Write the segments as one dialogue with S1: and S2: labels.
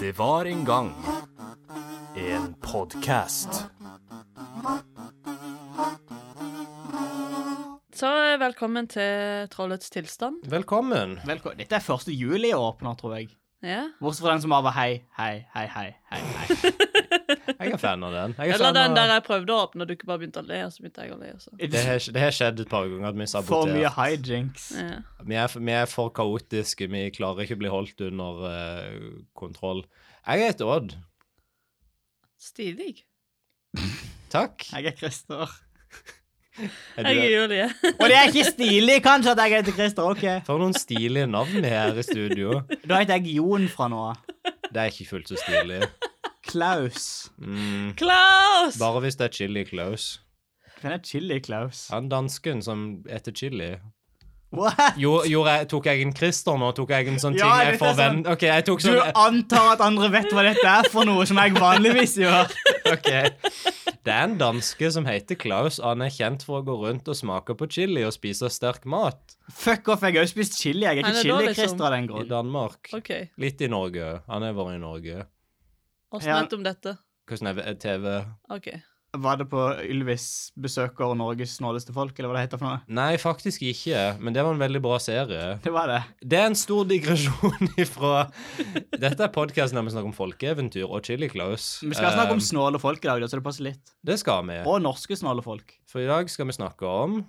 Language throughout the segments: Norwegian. S1: Det var en gang en podkast.
S2: Så eh, velkommen til Trollets tilstand.
S3: Velkommen.
S4: Velkommen. Dette er første juli jeg åpner, tror jeg.
S2: Ja.
S4: Bortsett fra den som bare var hei, hei, hei, hei, hei. hei.
S3: Jeg er fan av den. Jeg er
S2: Eller
S3: fan av-
S2: den der jeg prøvde å åpne, og du ikke bare begynte å le, og så begynte jeg å le også.
S3: Det har, det har skjedd et par ganger at vi
S4: For mye
S3: saboterer.
S4: hijinks.
S2: Ja.
S3: Vi er, vi er for kaotiske. Vi klarer ikke å bli holdt under eh, kontroll. Jeg heter Odd.
S2: Stilig.
S3: Takk.
S4: Jeg er Christer.
S3: Er
S2: Jeg er
S3: du,
S2: Julie.
S4: Og det er ikke stilig, kanskje, at jeg heter Christer. Ok.
S3: for noen stilige navn vi har i studio.
S4: Da heter jeg Jon fra nå av.
S3: Det er ikke fullt så stilig.
S4: Klaus.
S3: Mm.
S2: Klaus!
S3: Bare hvis det er Chili Klaus.
S4: Hvem er Chili Klaus?
S3: Han dansken som heter Chili.
S4: What?
S3: Jo, gjorde jeg, tok jeg en Christer nå? Tok jeg en sånn ting
S4: Ja,
S3: jeg
S4: dette er
S3: forvent...
S4: sånn-
S3: OK, jeg tok
S4: Du
S3: sånn
S4: antar at andre vet hva dette er for noe, som jeg vanligvis gjør.
S3: Ok. Det er en danske som heter Klaus, og han er kjent for å gå rundt og smake på chili og spise sterk mat
S4: Fuck off, jeg har jo spist chili. Jeg
S2: Han er
S4: er ikke
S2: da,
S4: Chili
S2: liksom.
S4: Christer av den
S3: i
S4: grunn.
S3: Danmark.
S2: OK.
S3: Litt i Norge. Han har vært i Norge.
S2: Åssen
S4: Ja.
S2: vet du om dette?
S3: Hvordan er det- TV
S2: OK.
S4: Var det på Ylvis besøker Norges snåleste folk, eller hva det heter for noe?
S3: Nei, faktisk ikke, men det var en veldig bra serie.
S4: Det var det.
S3: Det er en stor digresjon ifra Dette er podkasten der vi snakker om folkeeventyr og Chili Klaus.
S4: Vi skal snakke om
S3: Eh,
S4: snåle folk i dag, da, så det passer litt.
S3: Det skal vi.
S4: Og norske snåle folk.
S3: For i dag skal vi snakke om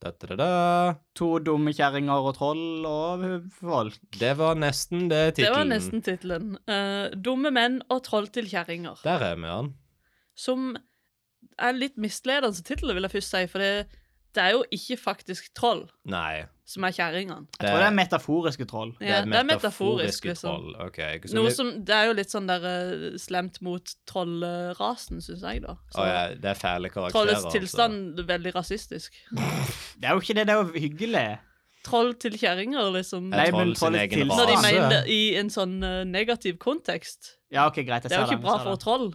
S3: Da-da-da-da.
S4: To dumme kjerringer og troll og folk.
S3: Det var nesten det
S2: Det var
S3: tittelen.
S2: nesten tittelen. Eh, 'Dumme menn og troll til kjerringer'.
S3: Der er vi han.
S2: Som er litt misledende tittel, vil jeg først si, for det, det er jo ikke faktisk troll
S3: Nei.
S2: som er kjerringene.
S4: Jeg tror det er metaforiske troll.
S2: Ja, det er metaforisk, liksom.
S3: troll. Ok, så
S2: Noe
S3: vi-
S2: som, det er jo litt sånn der eh, slemt mot trollrasen, syns jeg, da. Så
S3: Å, ja, det er fæle karakterer.
S2: trollets
S3: altså.
S2: tilstand er veldig rasistisk.
S4: Det er jo ikke det, det er jo hyggelig.
S2: Troll til kjerringer, liksom.
S3: Er
S4: Nei,
S3: troll
S4: men
S3: sin
S4: trollets
S3: egen
S4: tilstand.
S2: Når de
S3: rase?
S2: mener det i en sånn eh, negativ kontekst.
S4: Ja, ok, greit, jeg
S2: Det er jo
S4: ser
S2: ikke bra for
S4: jeg ser
S2: troll.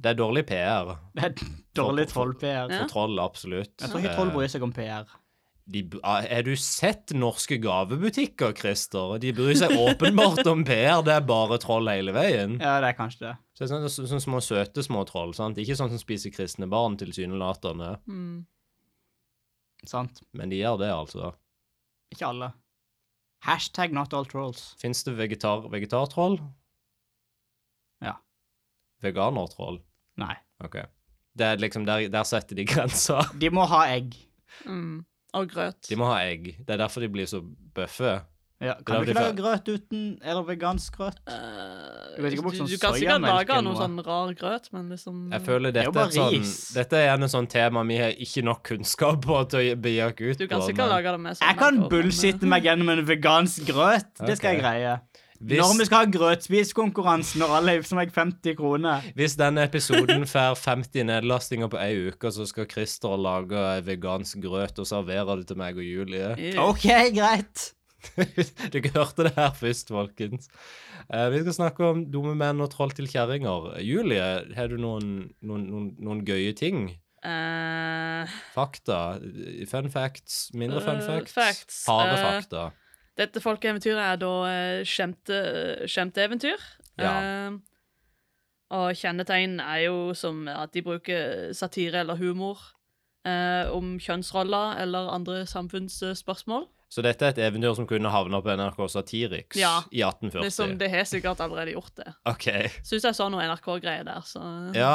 S3: Det er dårlig PR.
S4: Det er dårlig troll-PR.
S2: Ja.
S3: For troll, absolutt.
S4: Jeg tror ikke troll bryr seg om PR.
S3: De, b- ah, har du sett norske gavebutikker, Christer? De bryr seg åpenbart om PR. Det er bare troll hele veien.
S4: Ja, det er kanskje det.
S3: Så det er sånne, sånne små søte små troll. sant? Ikke sånn som spiser kristne barn, tilsynelatende.
S2: Mm.
S4: Sant.
S3: Men de gjør det, altså.
S4: Ikke alle. Hashtag not all trolls.
S3: Fins det vegetar, vegetartroll?
S4: Ja.
S3: Veganertroll?
S4: Nei.
S3: OK. Det er liksom, der, der setter de grenser.
S4: De må ha egg.
S2: Mm. Og grøt.
S3: De må ha egg. Det er derfor de blir så bøffe.
S4: Ja,
S3: Da
S4: kan du
S3: blir
S4: ikke lage
S3: det-
S4: grøt uten Eller vegansk grøt?
S2: Eh,
S4: Jeg vet ikke om
S2: du,
S4: sånn
S2: du kan sikkert
S4: soyamelk
S2: lage
S4: eller
S2: noe
S4: noe.
S2: sånn rar grøt, men liksom
S3: Jeg føler
S4: Mm. Det er jo
S3: dette er, et
S4: bare
S3: sånn,
S4: ris.
S3: dette er gjerne sånn tema vi har ikke nok kunnskap på til å bejake ut
S2: Du kan
S3: på,
S2: sikkert
S3: men
S2: lage det med sånn
S4: Jeg kan
S2: melk og-
S4: bullshitte meg gjennom en vegansk grøt. Det skal
S3: Ok.
S4: jeg greie. Når vi
S3: Hvis,
S4: skal ha grøtspisekonkurransen og alle gir meg 50 kroner
S3: hvis denne episoden får 50 nedlastinger på ei uke, så skal Christer lage vegansk grøt og servere det til meg og Julie.
S2: Eh,
S4: OK, greit.
S3: Dere hørte det her først, folkens. Eh, vi skal snakke om dumme menn og troll til kjerringer. Julie, har du noen, noen, noen, noen gøye ting?
S2: eh,
S3: Fakta? Fun facts? Mindre fun
S2: Eh,
S3: facts?
S2: facts.
S3: Harde
S2: Eh,
S3: fakta.
S2: dette folkeeventyret er da eh, skjemte, skjemteeventyr. Eh,
S3: Ja.
S2: og kjennetegn er jo som at de bruker satire eller humor eh, om kjønnsroller eller andre samfunnsspørsmål.
S3: Så dette er et eventyr som kunne havna på NRK Satiriks
S2: Ja.
S3: i 1840.
S2: Liksom, det har sikkert allerede gjort det.
S3: OK.
S2: Syns jeg så noe NRK-greier der, så
S3: Ja,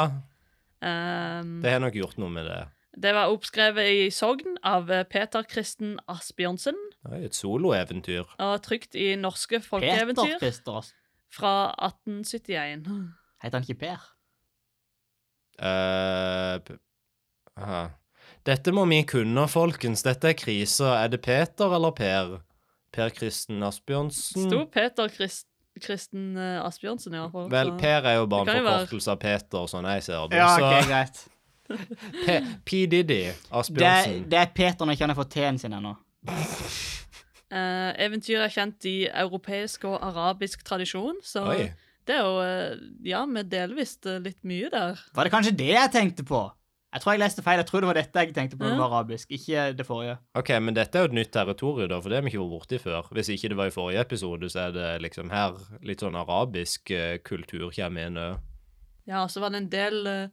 S2: ehm,
S3: det har nok gjort noe med det.
S2: Det var oppskrevet i Sogn av eh, Peter Kristen Asbjørnsen
S3: Det er jo et soloeventyr.
S2: og trykt i Norske
S4: Peter
S2: folkeeventyr
S4: Christer. ass.
S2: fra 1871.
S4: Heter han ikke Per?
S3: Eh, p- aha. Dette må vi kunne, folkens. Dette er krise. Er det Peter eller Per? Per Kristen Asbjørnsen?
S2: Sto Peter Krist Kristen eh, Asbjørnsen, i hvert fall.
S3: Vel,
S2: så-
S3: Per er jo bare
S2: Det
S3: en
S2: kan jo være-
S3: forkortelse av Peter, sånn jeg ser det.
S4: Ja,
S3: Så
S4: OK, greit.
S3: P. P. Diddy
S4: Det,
S3: Asbjørnsen.
S4: det er Peter når ikke han har fått T-en sin ennå.
S2: Eh, eventyr er kjent i europeisk og arabisk tradisjon, så
S3: Oi.
S2: det er jo eh, Ja, vi delvis eh, litt mye der.
S4: Var det kanskje det jeg tenkte på? Jeg tror jeg leste feil. Jeg tror det var dette jeg tenkte på når det var arabisk, ikke det forrige.
S3: OK, men dette er jo et nytt territorium, da, for det har vi ikke vært borti før. Hvis ikke det var i forrige episode, så er det liksom her litt sånn arabisk eh, kultur kommer inn eh. òg.
S2: Ja, så var det en del eh,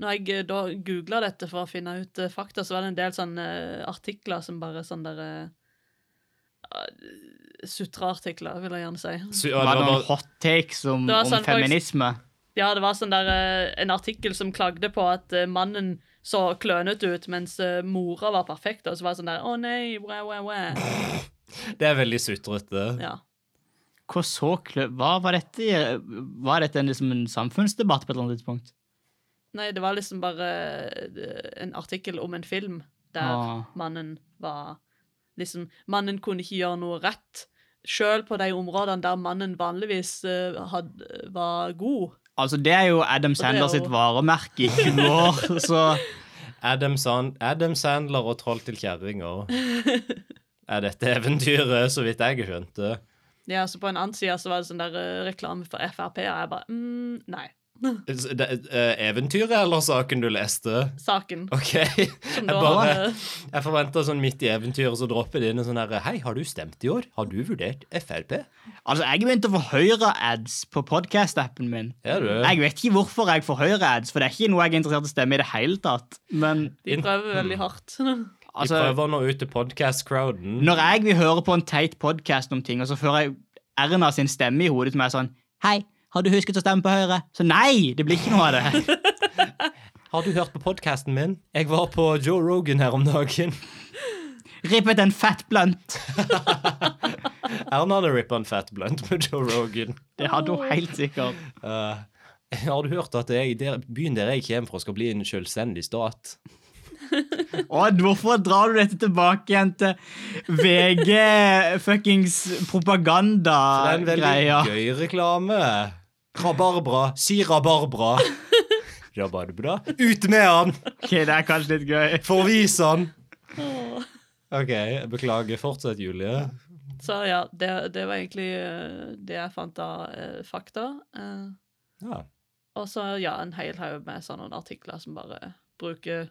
S2: Når jeg eh, da googla dette for å finne ut eh, fakta, så var det en del sånne eh, artikler som bare sånn der eh, ah, Sutreartikler, vil jeg gjerne si.
S3: Så, ja,
S4: Var
S3: det
S4: det
S3: var
S4: noen
S3: bare,
S4: hot takes om,
S2: Det var
S4: om
S2: sånn, for
S4: feminisme?
S2: Ja, det var sånn der eh, en artikkel som klagde på at eh, mannen så klønete ut, mens eh, mora var perfekt, og så var det sånn der Å nei, wæ, wæ, wæ.
S3: det er veldig sutrete.
S2: Ja.
S4: Hva så klø... Hva var dette? i- Var dette en, liksom en samfunnsdebatt på et eller annet tidspunkt?
S2: Nei, det var liksom bare eh, en artikkel om en film der
S4: Ah.
S2: mannen var Liksom, mannen kunne ikke gjøre noe rett. Sjøl på de områdene der mannen vanligvis eh, had, var god.
S4: Altså, det er jo Adam
S2: det er
S4: Sandler
S2: jo-
S4: sitt varemerke i 20 år, så
S3: Adam, Sand Adam Sandler og Troll til kjerringer er dette eventyret, så vidt jeg skjønte.
S2: Ja, så På en annen side så var det sånn der eh, reklame for Frp, og jeg bare mm, Nei.
S3: Så det- eh, Eventyret eller saken du leste?
S2: Saken.
S3: OK. Jeg,
S2: Som da
S3: bare,
S2: eh,
S3: jeg forventa sånn midt i eventyret, så dropper det inn en sånn herre Hei, har du stemt i år? Har du vurdert Frp?
S4: Altså, jeg begynte å få Høyre-ads på podcast-appen min.
S3: Er du?
S4: Jeg vet ikke hvorfor jeg får Høyre-ads, for det er ikke noe jeg er interessert i å stemme i det hele tatt. Men
S2: De prøver veldig hardt.
S3: Vi
S4: altså,
S3: prøver å nå ut til podcast-crowden.
S4: når jeg vil høre på en teit podcast om ting, og så fører jeg Erna sin stemme i hodet til meg sånn Hei, har du husket å stemme på Høyre? Så nei, det blir ikke noe av det.
S3: Har du hørt på podkasten min? Jeg var på Joe Rogan her om dagen.
S4: Rippet en fett blunt.
S3: Erna hadde rippa en fat blunt med Joe Rogan.
S4: Det hadde hun helt sikkert.
S3: Eh, har du hørt at jeg, der, byen der jeg kommer fra, skal bli en selvstendig stat?
S4: Odd, hvorfor drar du dette tilbake igjen til VG fuckings
S3: Det er en veldig
S4: propaganda-greia?
S3: gøy reklame. Rabarbra. Si rabarbra. Rabarbra. Ut med han!
S4: Ok, det er kanskje litt gøy.
S3: Forvis han!
S2: Åh.
S3: OK, jeg beklager. Fortsett, Julie.
S2: Så ja, det, det var egentlig eh, det jeg fant av eh, fakta. Eh,
S3: Ja.
S2: Og så, ja, en hel haug med sånne artikler som bare bruker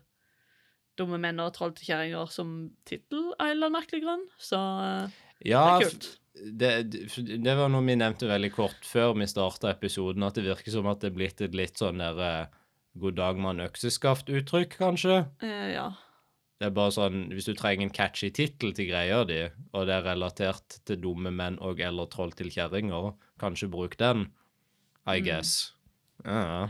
S2: dumme menn og troll til kjerringer som tittel av en eller annen merkelig grunn. Så eh,
S3: ja
S2: det er kult.
S3: det, det var noe vi nevnte veldig kort før vi starta episoden, at det virker som at det er blitt et litt sånn der eh, god dag mann økseskaft-uttrykk, kanskje.
S2: Eh, ja.
S3: Det er bare sånn, Hvis du trenger en catchy tittel til greia di, og det er relatert til dumme menn og eller troll til kjerringer, kanskje bruk den. I guess. Ja.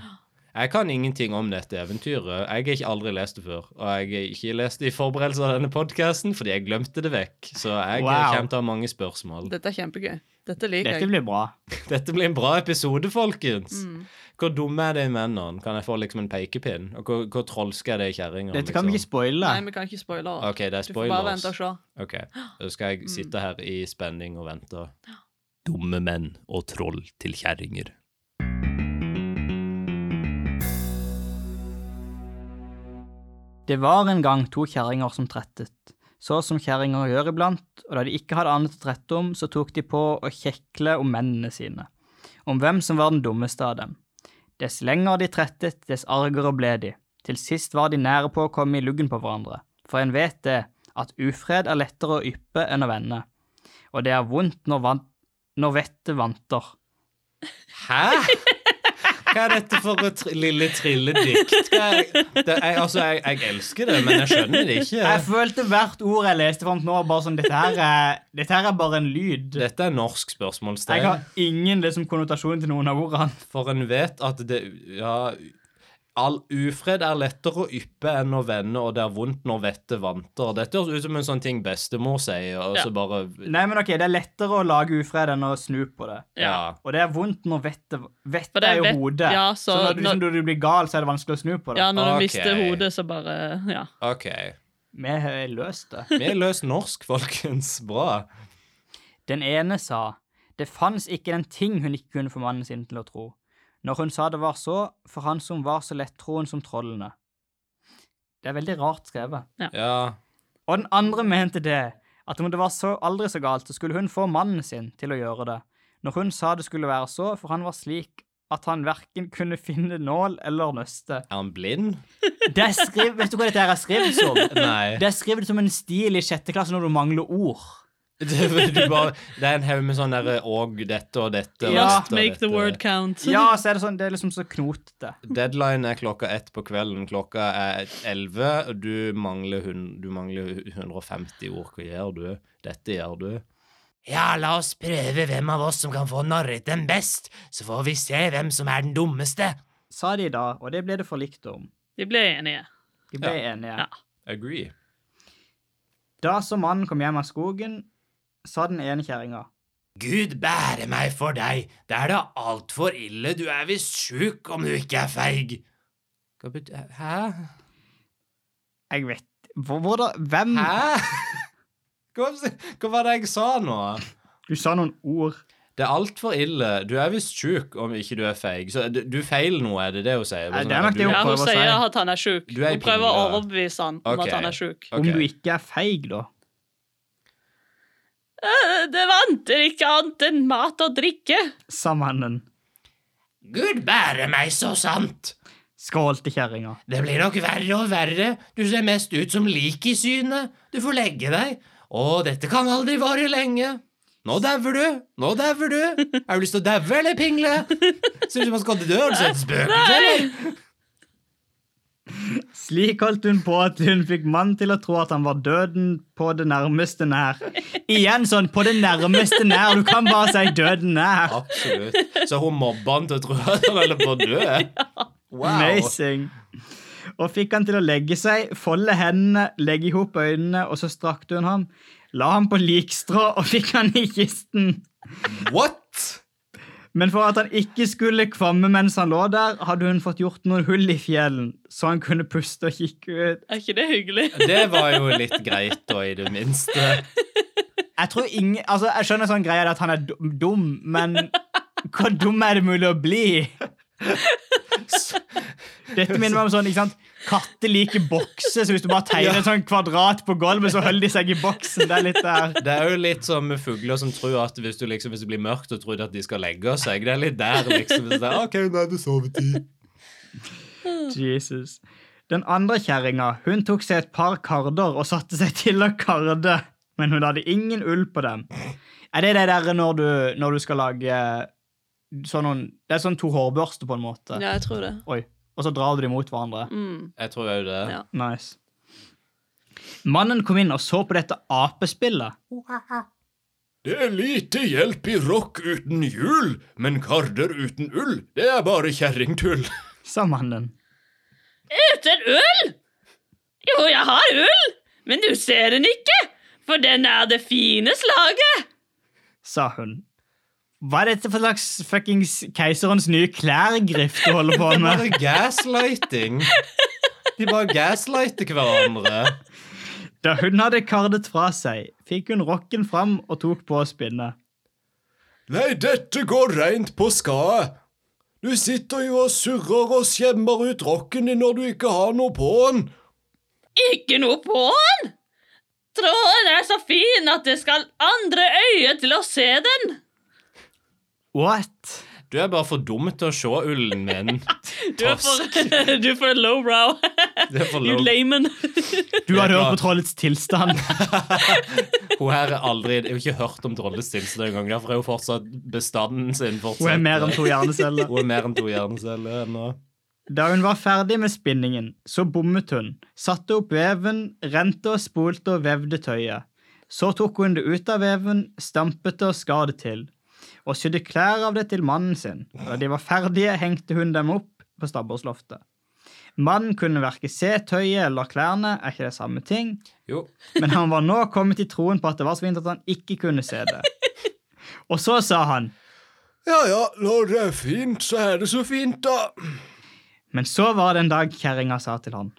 S3: Jeg kan ingenting om dette eventyret. Jeg har ikke aldri lest det før. Og jeg har ikke lest det i forberedelse av denne podkasten fordi jeg glemte det vekk. Så jeg
S4: Wow.
S3: kommer til å ha mange spørsmål.
S2: Dette er kjempegøy. Dette liker
S4: Dette
S2: jeg.
S4: blir bra.
S3: Dette blir en bra episode, folkens.
S2: Mm.
S3: Hvor dumme er de mennene? Kan jeg få liksom en pekepinn? Og hvor, hvor trolske er de kjerringene?
S4: Dette kan vi ikke
S3: liksom?
S4: spoile.
S2: Nei, vi kan ikke spoile.
S3: OK, det er
S2: Du får bare
S3: spoilers.
S2: vente og se.
S3: Ok, da skal jeg sitte her i spenning og vente. Dumme menn og troll til kjerringer.
S4: Det var en gang to kjerringer som trettet. Så som kjerringer gjør iblant, og da de ikke hadde annet å trette om, så tok de på å kjekle om mennene sine. Om hvem som var den dummeste av dem. Dess lenger de trettet, dess argere ble de. Til sist var de nære på å komme i luggen på hverandre. For en vet det, at ufred er lettere å yppe enn å vende. Og det er vondt når, van når vettet vanter.
S3: Hæ?! Hva er dette for et tr lille trilledikt? Hva er- Det, jeg, altså, jeg, jeg elsker det, men jeg skjønner det ikke.
S4: Jeg følte hvert ord jeg leste fram til nå, bare sånn Dette her er, dette her er bare en lyd.
S3: Dette er norsk
S4: Jeg
S3: spørsmålstegn.
S4: har ingen liksom, konnotasjon til noen av ordene.
S3: For en vet at det Ja. All ufred er lettere å yppe enn å vende, og det er vondt når vettet vanter. Dette høres ut som en sånn ting bestemor sier, og så
S2: Ja.
S3: bare
S4: Nei, men ok, Det er lettere å lage ufred enn å snu på det.
S3: Ja.
S4: Og det er vondt når vettet Vettet
S2: For det er
S4: er jo
S2: vett-
S4: hodet.
S2: ja, så
S4: når, du-
S2: når-
S4: liksom, når du blir gal, så er det vanskelig å snu på det.
S2: Ja, når du
S3: Ok.
S2: mister hodet, så bare Ja.
S3: OK.
S4: Vi har løst det.
S3: Vi er løs norsk, folkens. Bra.
S4: Den ene sa det fanns ikke den ting hun ikke kunne få mannen sin til å tro. Når hun sa det var så, for han som var så lettroen som trollene. Det er veldig rart skrevet.
S3: Ja.
S4: Og den andre mente det, at om det var så aldri så galt, så skulle hun få mannen sin til å gjøre det. Når hun sa det skulle være så, for han var slik at han verken kunne finne nål eller nøste.
S3: Er han blind?
S4: Det er skriv, vet du hva dette her er skrevet som?
S3: Nei.
S4: Det er skrevet som en stil i sjette klasse når du mangler ord.
S3: Det, du bare, det er en haug med sånn derre og dette og dette og
S4: Ja.
S2: Must
S3: dette. og
S2: make the
S3: dette.
S2: word count.
S4: Ja, så er det sånn, det er liksom så knotete.
S3: Deadline er klokka ett på kvelden. Klokka er elleve, og du mangler, hun, du mangler 150 ord. Hva gjør du? Dette gjør du. Ja, la oss prøve hvem av oss som kan få narret den best, så får vi se hvem som er den dummeste.
S4: Sa de da, og det ble det forlikt om.
S2: De ble enige.
S4: De ble enige.
S2: Ja.
S3: Agree.
S4: Da som mannen kom hjem av skogen, sa den ene kjerringa.
S3: Gud bære meg for deg, det er da altfor ille, du er visst sjuk om du ikke er feig. Hva betyr Hæ?
S4: Jeg vet hvor- Hvordan Hvem
S3: Hæ? Hva, hva var det jeg sa nå?
S4: Du sa noen ord.
S3: Det er altfor ille. Du er visst sjuk om ikke du er feig. Så du, du feiler noe, er det det hun sier?
S4: Nei, det er nok
S3: du,
S4: det
S2: Ja,
S4: prøver
S2: hun
S4: å
S2: sier
S4: si.
S2: at han er sjuk.
S3: Du er i
S2: Hun prøver å
S3: pingle.
S2: overbevise han om
S3: Ok.
S2: at han er sjuk.
S4: Om
S3: Ok.
S4: du ikke er feig, da.
S2: Eh, Det vanter ikke annet enn mat og drikke.
S4: Sa mannen.
S3: Gud bære meg så sant!
S4: Skålte kjerringa.
S3: Det blir nok verre og verre. Du ser mest ut som lik i synet. Du får legge deg. Å, dette kan aldri vare lenge. Nå dauer du. Nå dauer du. Har du lyst til å daue eller pingle? Ser ut som man skal dø. Har du sett spøkelser, eller?
S4: Slik holdt hun på at hun fikk mannen til å tro at han var døden på det nærmeste nær. Igjen sånn på det nærmeste nær. Du kan bare si døden nær.
S3: Absolutt. Så hun mobba han til å tro at han holdt på å dø.
S4: Amazing. Og fikk han til å legge seg, folde hendene, legge i hop øynene, og så strakte hun ham. La ham på likstrå og fikk han i kisten.
S3: What?
S4: Men for at han ikke skulle kvamme mens han lå der, hadde hun fått gjort noen hull i fjellen, så han kunne puste og kikke ut.
S2: Er ikke det hyggelig?
S3: Det var jo litt greit, da, i det minste.
S4: Jeg tror ingen, altså jeg skjønner sånn greie at han er dum- dum, men hvor dum er det mulig å bli? Dette minner meg om sånn, ikke sant? Katter liker bokser, så hvis du bare tegner en sånn kvadrat på gulvet, så holder de seg i boksen. Det er litt der.
S3: Det er jo litt som med fugler som tror at hvis, du liksom, hvis det blir mørkt, og tror de at de skal legge seg. Det er litt der, liksom. Hvis det er, OK, nå er det sovetid.
S4: Jesus. Den andre kjerringa hun tok seg et par karder og satte seg til å karde, men hun hadde ingen ull på dem. Er det det der når du, når du skal lage eh, sånn noen, Det er sånn to hårbørster, på en måte.
S2: Ja, jeg tror det.
S4: Oi. Og så drar du dem mot hverandre.
S2: Mm.
S3: Jeg tror òg det.
S2: Ja.
S4: Nice. Mannen kom inn og så på dette apespillet.
S3: Det er lite hjelp i rock uten hjul, men karder uten ull, det er bare kjerringtull.
S4: Sa mannen.
S2: Uten ull? Jo, jeg har ull, men du ser den ikke, for den er det fine slaget.
S4: Sa hun. Hva er dette for slags fuckings keiserens nye klær-grift du holder på med?
S3: Bare gaslighting. De bare gaslighter hverandre.
S4: Da hun hadde kardet fra seg, fikk hun rocken fram og tok på å spinne.
S3: Nei, dette går reint på skadet. Du sitter jo og surrer og skjemmer ut rocken din når du ikke har noe på den.
S2: Ikke noe på den. Tråden er så fin at det skal andre øye til å se den.
S4: What?
S3: Du er bare for dum til å se ullen min.
S2: Du er for, du er for lowbrow.
S3: Det er for
S2: You
S3: lov.
S2: layman.
S4: Du
S3: Jeg
S4: hadde
S3: er
S4: hørt
S3: glad.
S4: på trollets tilstand.
S3: Hun her er aldri Jeg har ikke hørt om Drolles tilstand engang. Derfor er hun fortsatt bestanden sin. Fortsatt. eh,
S4: Hun er mer enn to hjerneceller.
S3: Hun er mer enn to hjerneceller ennå.
S4: Da hun var ferdig med spinningen, så bommet hun, satte opp veven, rente og spolte og vevde tøyet. Så tok hun det ut av veven, stampet det og skar det til, og sydde klær av det til mannen sin. Da de var ferdige, hengte hun dem opp på stabbursloftet. Mannen kunne verken se tøyet eller klærne, er ikke det samme ting?
S3: Jo.
S4: Men han var nå kommet i troen på at det var så fint at han ikke kunne se det. Og så sa han,
S3: Ja ja, når det er fint, så er det så fint, da.
S4: men så var det en dag kjerringa sa til han.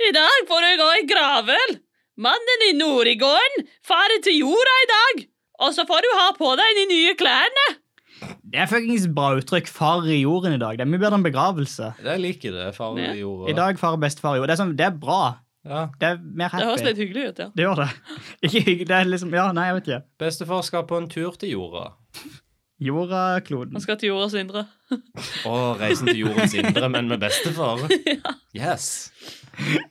S2: I dag får du gå i gravøl. Mannen i Nordigården farer til jorda i dag. Og så får du ha på deg de nye klærne.
S4: Det er fuckings bra uttrykk. Far i jorden i dag. Det er mye bedre enn begravelse.
S3: Jeg liker det. Far i jorda.
S4: I dag far og bestefar i jord. Det er, sånn, det er bra.
S3: Ja.
S4: Det er mer
S2: Det høres
S4: happy.
S2: litt hyggelig ut, ja.
S4: Det gjør det. Ikke hyggelig. Det er liksom Ja, nei, jeg vet ikke.
S3: Bestefar skal på en tur til jorda.
S4: Jorda,
S2: Han
S4: kloden.
S2: skal til jordas indre.
S3: Å, reisen til jordens indre, men med bestefar. Yes.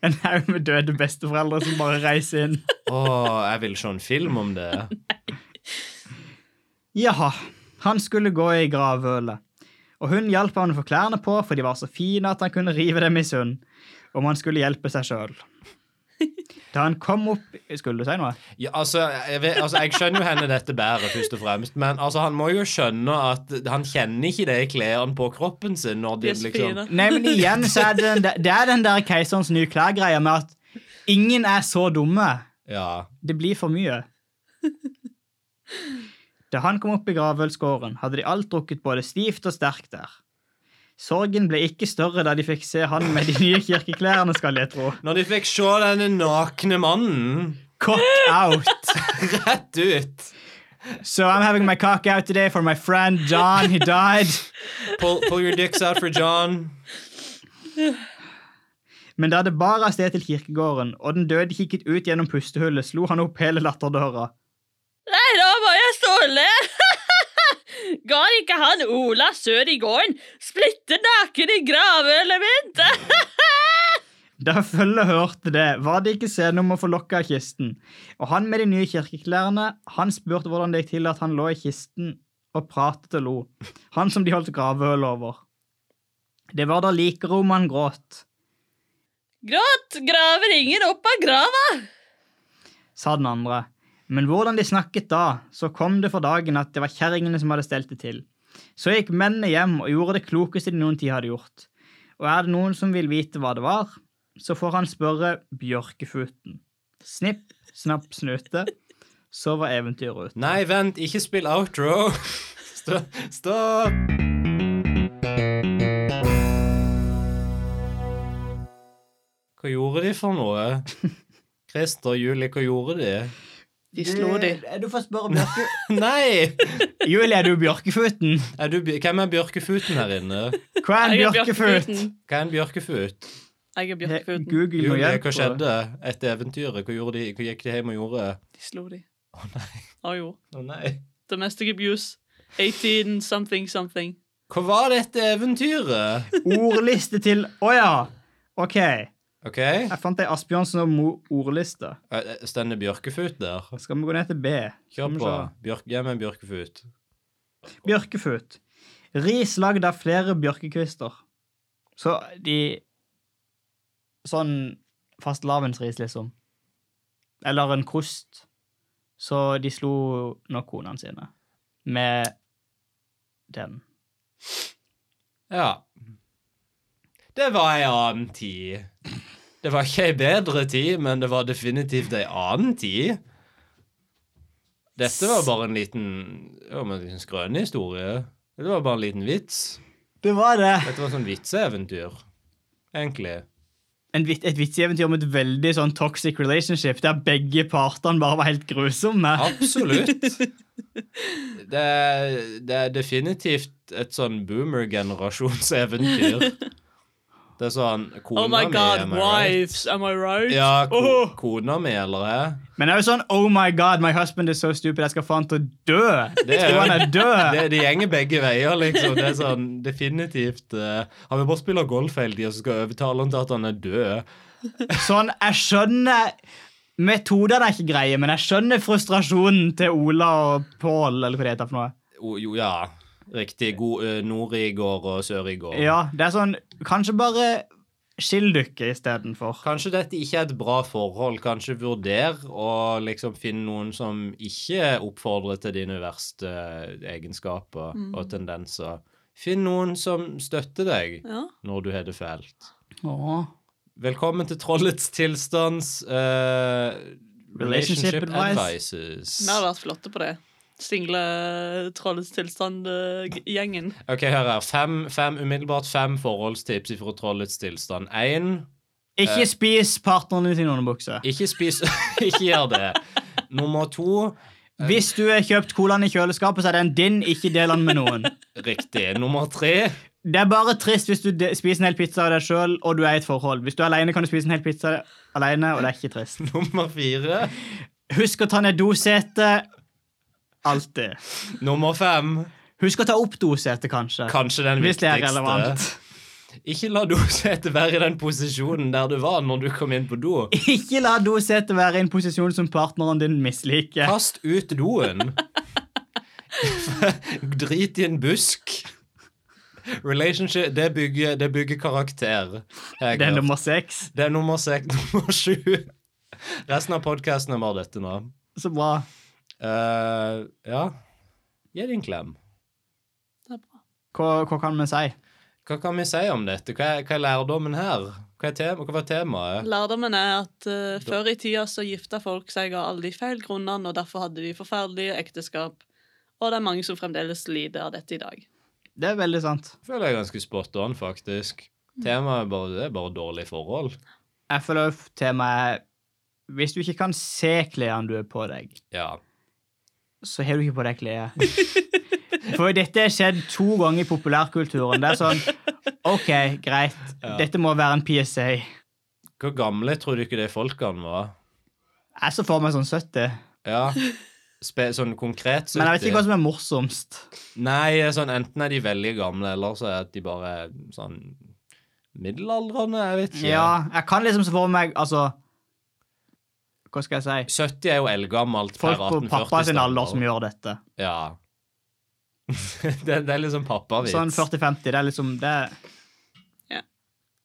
S4: En haug med døde besteforeldre som bare reiser inn.
S3: Å, jeg vil se en film om det.
S4: Jaha. Han skulle gå i gravølet, og hun hjalp han å få klærne på, for de var så fine at han kunne rive dem i sund, om han skulle hjelpe seg sjøl. Da han kom opp Skulle du si noe?
S3: Ja, altså, jeg vet, altså, jeg skjønner jo henne dette bedre, først og fremst, men altså, han må jo skjønne at han kjenner ikke de klærne på kroppen sin når
S2: De
S3: de
S2: er så
S3: liksom
S2: fine.
S4: Nei, men igjen så er det den der, det er den der keiserens nye klær-greia med at ingen er så dumme.
S3: Ja.
S4: Det blir for mye. Da han kom opp i gravølskåren, hadde de alt drukket både stivt og sterkt der. Sorgen ble ikke større da de fikk se han med de nye kirkeklærne, skal jeg tro.
S3: Når de fikk se denne nakne mannen
S4: Cock out!
S3: rett ut
S4: So I'm having my cock out today for my friend John, he died.
S3: Pull, pull your dicks out for John.
S4: Men da det bar av sted til kirkegården, og den døde kikket ut gjennom pustehullet, slo han opp hele latterdøra.
S2: Nei, da må jeg stå og le! Ga ikke han Ola sør i gården splitte naken i graveelementet?
S4: Da følget hørte det, var det ikke scene om å få lokket av kisten. Og han med de nye kirkeklærne, han spurte hvordan det gikk til at han lå i kisten og pratet og lo. Han som de holdt gravøl over. Det var da likerommet han gråt,
S2: Gråt graver ingen opp av grava!
S4: sa den andre. Men hvordan de snakket da, så kom det for dagen at det var kjerringene som hadde stelt det til. Så gikk mennene hjem og gjorde det klokeste de noen tid hadde gjort. Og er det noen som vil vite hva det var, så får han spørre Bjørkefuten. Snipp, snapp, snute. Så var eventyret ute.
S3: Nei, vent, ikke spill outro. Stå- Stopp. Hva gjorde de for noe? Christer og Julie, hva gjorde de?
S2: De slo de.
S3: Eh,
S4: Du får spørre Bjørke...
S3: Nei!
S4: Julie, er du Bjørkefuten?
S3: Er du, Bj- hvem er bjørkefuten her inne?
S4: Hva er en
S2: Jeg er
S4: bjørkefut?
S2: Bjørkefuten.
S3: Hva er en bjørkefut?
S2: Jeg er Bjørkefuten.
S4: Google må
S3: Julie,
S4: hjelpe.
S3: hva skjedde etter eventyret? Hva, gjorde de, hva gikk de hjem og gjorde?
S2: De slo de.
S3: Å nei.
S2: Å jo.
S3: Å nei.
S2: Domestic abuse. 18 something something.
S3: Hva var dette eventyret?
S4: Ordliste til Å ja! OK. Jeg
S3: OK? Eh,
S4: fant ei Asbjørnsen og Mo-ordliste.
S3: eh, Stender bjørkefut der?
S4: Skal vi gå ned til B? Skal
S3: Kjør
S4: vi
S3: på.
S4: se.
S3: Bjørk, hjem med en bjørkefut.
S4: Bjørkefot. Ris lagd av flere bjørkekvister. Så de Sånn fastelavnsris, liksom. Eller en kost. Så de slo nok konene sine med den.
S3: Ja. Det var ei annen tid. Det var ikke ei bedre tid, men det var definitivt ei annen tid. Dette var bare en liten, det var bare en liten skrønehistorie. Det var bare en liten vits.
S4: Det var det!
S3: Dette var sånn vitseeventyr, egentlig.
S4: En vit, et vitseventyr om et veldig sånn toxic relationship der begge partene bare var helt grusomme.
S3: Absolutt. Det er, det er definitivt et sånn boomer-generasjonseventyr. Det er sånn Kona
S2: Oh my
S3: mi,
S2: god, Oh.
S3: am I right?
S2: wives, am I right?
S3: Ja, ko
S2: Åh.
S3: kona mi, eller hæ?
S4: Men det er jo sånn Oh my god, my husband is so stupid, jeg skal faen til å dø!
S3: Det er
S4: Jo, han
S3: jo
S4: er død!
S3: det, det gjenger begge veier, liksom. Det er sånn definitivt eh, Han vil bare spille golf hele tida, så skal jeg overtale han til at han er død.
S4: Sånn, jeg skjønner Metodene er ikke greie, men jeg skjønner frustrasjonen til Ola og Pål, eller hva det heter for noe.
S3: O, jo, ja. Riktig. God eh, Nord-Igård og Sør-Igård.
S4: Ja, det er sånn Kanskje bare skill dere istedenfor.
S3: Kanskje dette ikke er et bra forhold. Kanskje vurder å liksom finne noen som ikke oppfordrer til dine verste eh, egenskaper og tendenser. Finn noen som støtter deg
S2: Ja.
S3: når du har det fælt.
S4: Åh.
S3: Velkommen til Trollets tilstands eh,
S4: Relationship
S3: Relationship
S4: advice.
S3: Advices.
S2: Vi har vært flotte på det. Single eh, trollets eh, tilstand-gjengen.
S3: Ok, hør her. Fem, fem, umiddelbart fem forholdstips fra Trollets tilstand. Én
S4: Ikke spis partneren din sin underbukse.
S3: Ikke spis Ikke gjør det. Nummer to
S4: Hvis du har kjøpt colaen i kjøleskapet, så er den din, ikke del den med noen.
S3: Riktig. Nummer tre
S4: Det er bare trist hvis du de spiser en hel pizza av deg sjøl og du er i et forhold. Hvis du er alene, kan du spise en hel pizza alene, og det er ikke trist.
S3: Nummer fire.
S4: Husk å ta ned dosetet. Alltid.
S3: Nummer fem.
S4: Husk å ta opp dosetet, kanskje.
S3: Kanskje den
S4: hvis det er relevant.
S3: viktigste. Ikke la dosetet være i den posisjonen der du var når du kom inn på do.
S4: Ikke la dosetet være i en posisjon som partneren din misliker.
S3: Kast ut doen. Drit i en busk. Relationship Det bygger, det bygger karakter. Jeg
S4: Det er
S3: klart.
S4: nummer seks.
S3: det er nummer seks. Nummer sju. Resten av podkasten er bare dette nå.
S4: Så bra.
S3: Eh, ja. Gi det en klem.
S2: Det er bra.
S4: Hva, hva kan vi si?
S3: Hva kan vi si om dette? Hva er, hva er lærdommen her? Hva, er tema, hva var temaet?
S2: Lærdommen er at eh, før i tida så gifta folk seg av alle de feil grunnene, og derfor hadde de forferdelige ekteskap. Og det er mange som fremdeles lider av dette i dag.
S4: Det er veldig sant.
S3: Jeg føler jeg er ganske spot on, faktisk.
S4: Mm.
S3: Temaet er bare, det er bare dårlige forhold.
S4: Jeg føler jo temaet er Hvis du ikke kan se klærne du har på deg,
S3: Ja.
S4: så har du ikke på deg klær. For dette har skjedd to ganger i populærkulturen. Det er sånn OK, greit.
S3: Ja.
S4: Dette må være en PSA. Jeg
S3: Hvor gamle tror du ikke de folkene var?
S4: så for meg sånn 70.
S3: Ja. Spe, sånn konkret
S4: Men jeg vet ikke
S3: 70.
S4: hva som er morsomst.
S3: Nei, sånn, enten er de veldig gamle, eller så er de bare sånn middelaldrende. Jeg vet ikke.
S4: Ja, jeg kan liksom se for meg Altså, hva skal jeg si?
S3: 70 er jo eldgammelt per
S4: Folk på
S3: 1840-standard.
S4: pappa sin alder som gjør dette.
S3: Ja. det, det er liksom pappavits.
S4: Sånn 40-50, det er liksom det er-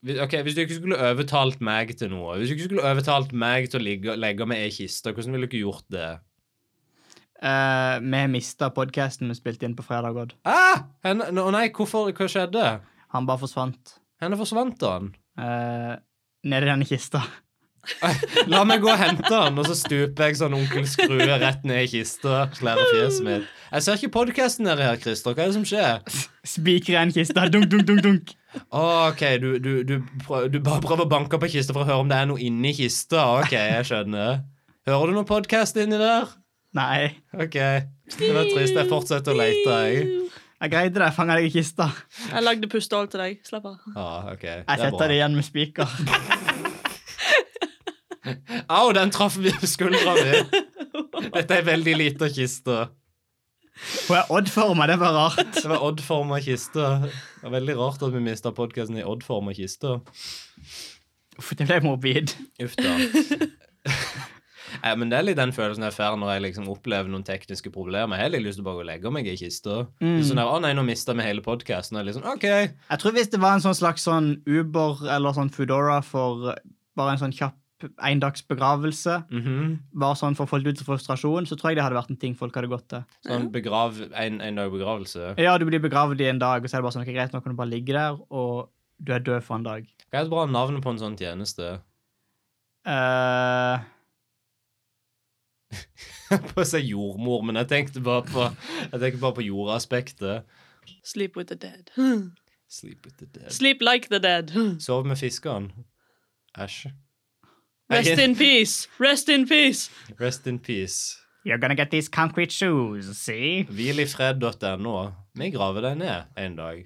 S3: Hvis- Ok, Hvis du ikke skulle overtalt meg til noe Hvis du ikke skulle overtalt meg til å ligge, legge meg i kista, hvordan ville du ikke gjort det?
S4: eh, Vi har mista podkasten vi spilte inn på fredag, Odd.
S3: Ah! Henne, å nei, hvorfor, hva skjedde?
S4: Han bare forsvant.
S3: Henne forsvant han.
S4: Uh, Nedi denne kista.
S3: La meg gå og hente han, og så stuper jeg sånn onkel Skrue rett ned i kista. Slærer fjeset mitt. Jeg ser ikke podkasten dere her, Christer. Hva er det som skjer?
S4: Spikren kista, dunk, dunk, dunk, dunk.
S3: Å, OK, du, du, du, prø- du bare prøver å banke på kista for å høre om det er noe inni kista. OK, jeg skjønner. Hører du noen podkast inni der?
S4: Nei.
S3: OK. Det var trist. Jeg fortsetter å lete, jeg.
S4: Jeg greide det, jeg fanga deg i kista.
S2: Jeg lagde pustehull til deg. Slapp av.
S3: Ja, ok. Det
S4: Jeg
S3: er
S4: setter
S3: bra.
S4: det igjen med spiker.
S3: Au, den traff vi skuldra mi! Dette er veldig lita kiste.
S4: Hun er Odd-forma, det var rart.
S3: Det var Odd-forma kiste. Det var veldig rart at vi mista podkasten i Odd-forma kiste.
S4: Uff, det ble morbid.
S3: Uff da. Nei, men det er litt den følelsen jeg får når jeg liksom opplever noen tekniske problemer. Jeg har litt lyst til bare å legge meg i kista.
S4: Mm.
S3: Sånn der, å nei, nå mista vi hele podkasten. Liksom, OK.
S4: Jeg tror hvis det var en sånn slags sånn Uber eller sånn Foodora for bare en sånn kjapp endagsbegravelse,
S3: mhm.
S4: bare sånn for å få litt ut av frustrasjon, så tror jeg det hadde vært en ting folk hadde gått til.
S3: Sånn begrav, en, en dag begravelse.
S4: Ja, du blir begravd i en dag, og så er det bare sånn, ok, greit, nå kan du bare ligge der, og du er død for en dag.
S3: Hva er et bra navn på en sånn tjeneste?
S4: Eh,
S3: på å si jordmor, men jeg tenkte bare på, jeg tenkte bare på jordaspektet.
S2: Sleep with the dead.
S3: Sleep with the dead.
S2: Sleep like the dead.
S3: Sov med fiskene. Æsj.
S2: Rest in peace. Rest in peace.
S3: Rest in peace.
S4: you're gonna get these concrete shoes, see?
S3: Hvilifred.no. Vi graver deg ned en dag.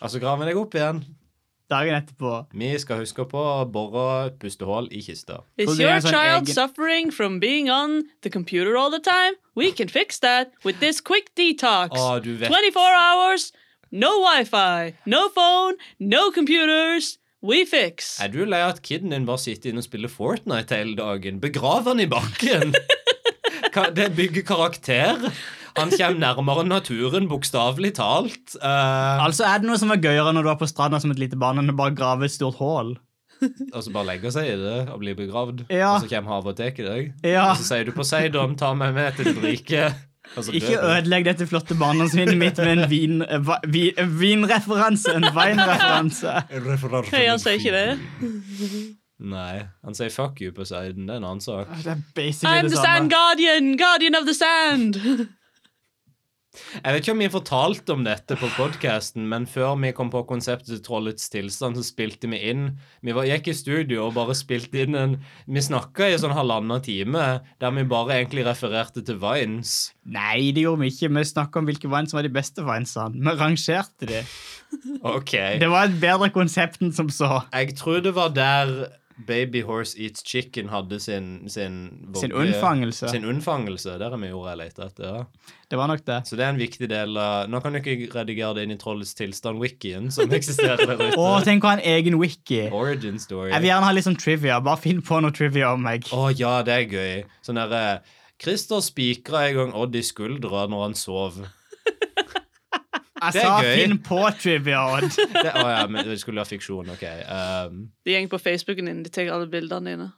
S3: Altså graver deg opp igjen.
S4: Dagen etterpå.
S3: Vi skal huske på å bore et pustehull i kista.
S2: Is
S4: Så det er
S2: your
S4: en sånn
S2: child
S4: egen-
S2: suffering from being on the computer all the time? We can fix that with this quick detox.
S3: Å, du vet
S2: 24 hours, no Wi-Fi, no phone, no computers. We fix.
S3: Er du lei av at kiden din bare sitter inne og spiller Fortnite hele dagen? Begrav han i bakken! Ka- Det bygger karakter. Han kommer nærmere naturen, bokstavelig talt. Eh,
S4: Altså, er det noe som er gøyere når du er på stranda som et lite barn, enn å bare grave et stort hål?
S3: Og så bare legger seg i det og blir begravd.
S4: Ja.
S3: Og så kommer havet og tar deg.
S4: Ja,
S3: Og så sier du Poseidon, ta meg med til ditt rike. Altså, Og så
S4: ikke
S3: dør du.
S4: ødelegg dette flotte barndomsminnet mitt med en vin, eh, va- vi- eh, vinreferanse, en vinreferanse.
S2: Hei, han sier
S4: Sånn
S2: ikke det.
S3: Nei. Han sier fuck you, Poseidon. Det er en annen sak.
S4: Det er basically
S2: I'm
S4: det
S2: the sand
S4: samme.
S2: guardian, guardian of the sand.
S3: Jeg vet ikke om vi fortalte om dette på podkasten, men før vi kom på konseptet Trollets tilstand, så spilte vi inn Vi var, gikk i studio og bare spilte inn en Vi snakka i sånn halvannen time, der vi bare egentlig refererte til Vines.
S4: Nei, det gjorde vi ikke. Vi snakket om hvilke vines som var de beste vinesene. Vi rangerte de.
S3: OK.
S4: Det var et bedre konsept enn som så.
S3: Jeg tror det var der Baby Horse Eats Chicken hadde sin Sin,
S4: Sin
S3: vogge-
S4: unnfangelse.
S3: Sin unnfangelse. Der er vi ordet jeg leter etter. ja.
S4: Det var nok det.
S3: Så det er en viktig del av Nå kan du ikke redigere det inn i Trollets tilstand-wikien som eksisterer der
S4: Å,
S3: ute.
S4: tenk å ha en egen wiki.
S3: Origin story.
S4: Jeg vil gjerne ha litt sånn trivia. Bare finn på noe trivia om meg.
S3: Å ja, det er gøy. Sånn derre Christer spikra en gang Odd i skuldra når han sov.
S4: Jeg
S3: det er
S4: sa
S3: gøy.
S4: finn på trivia, Odd.
S3: Det, å ja, men det skulle være fiksjon, OK. Um,
S2: De går på Facebooken din, de tar alle bildene dine.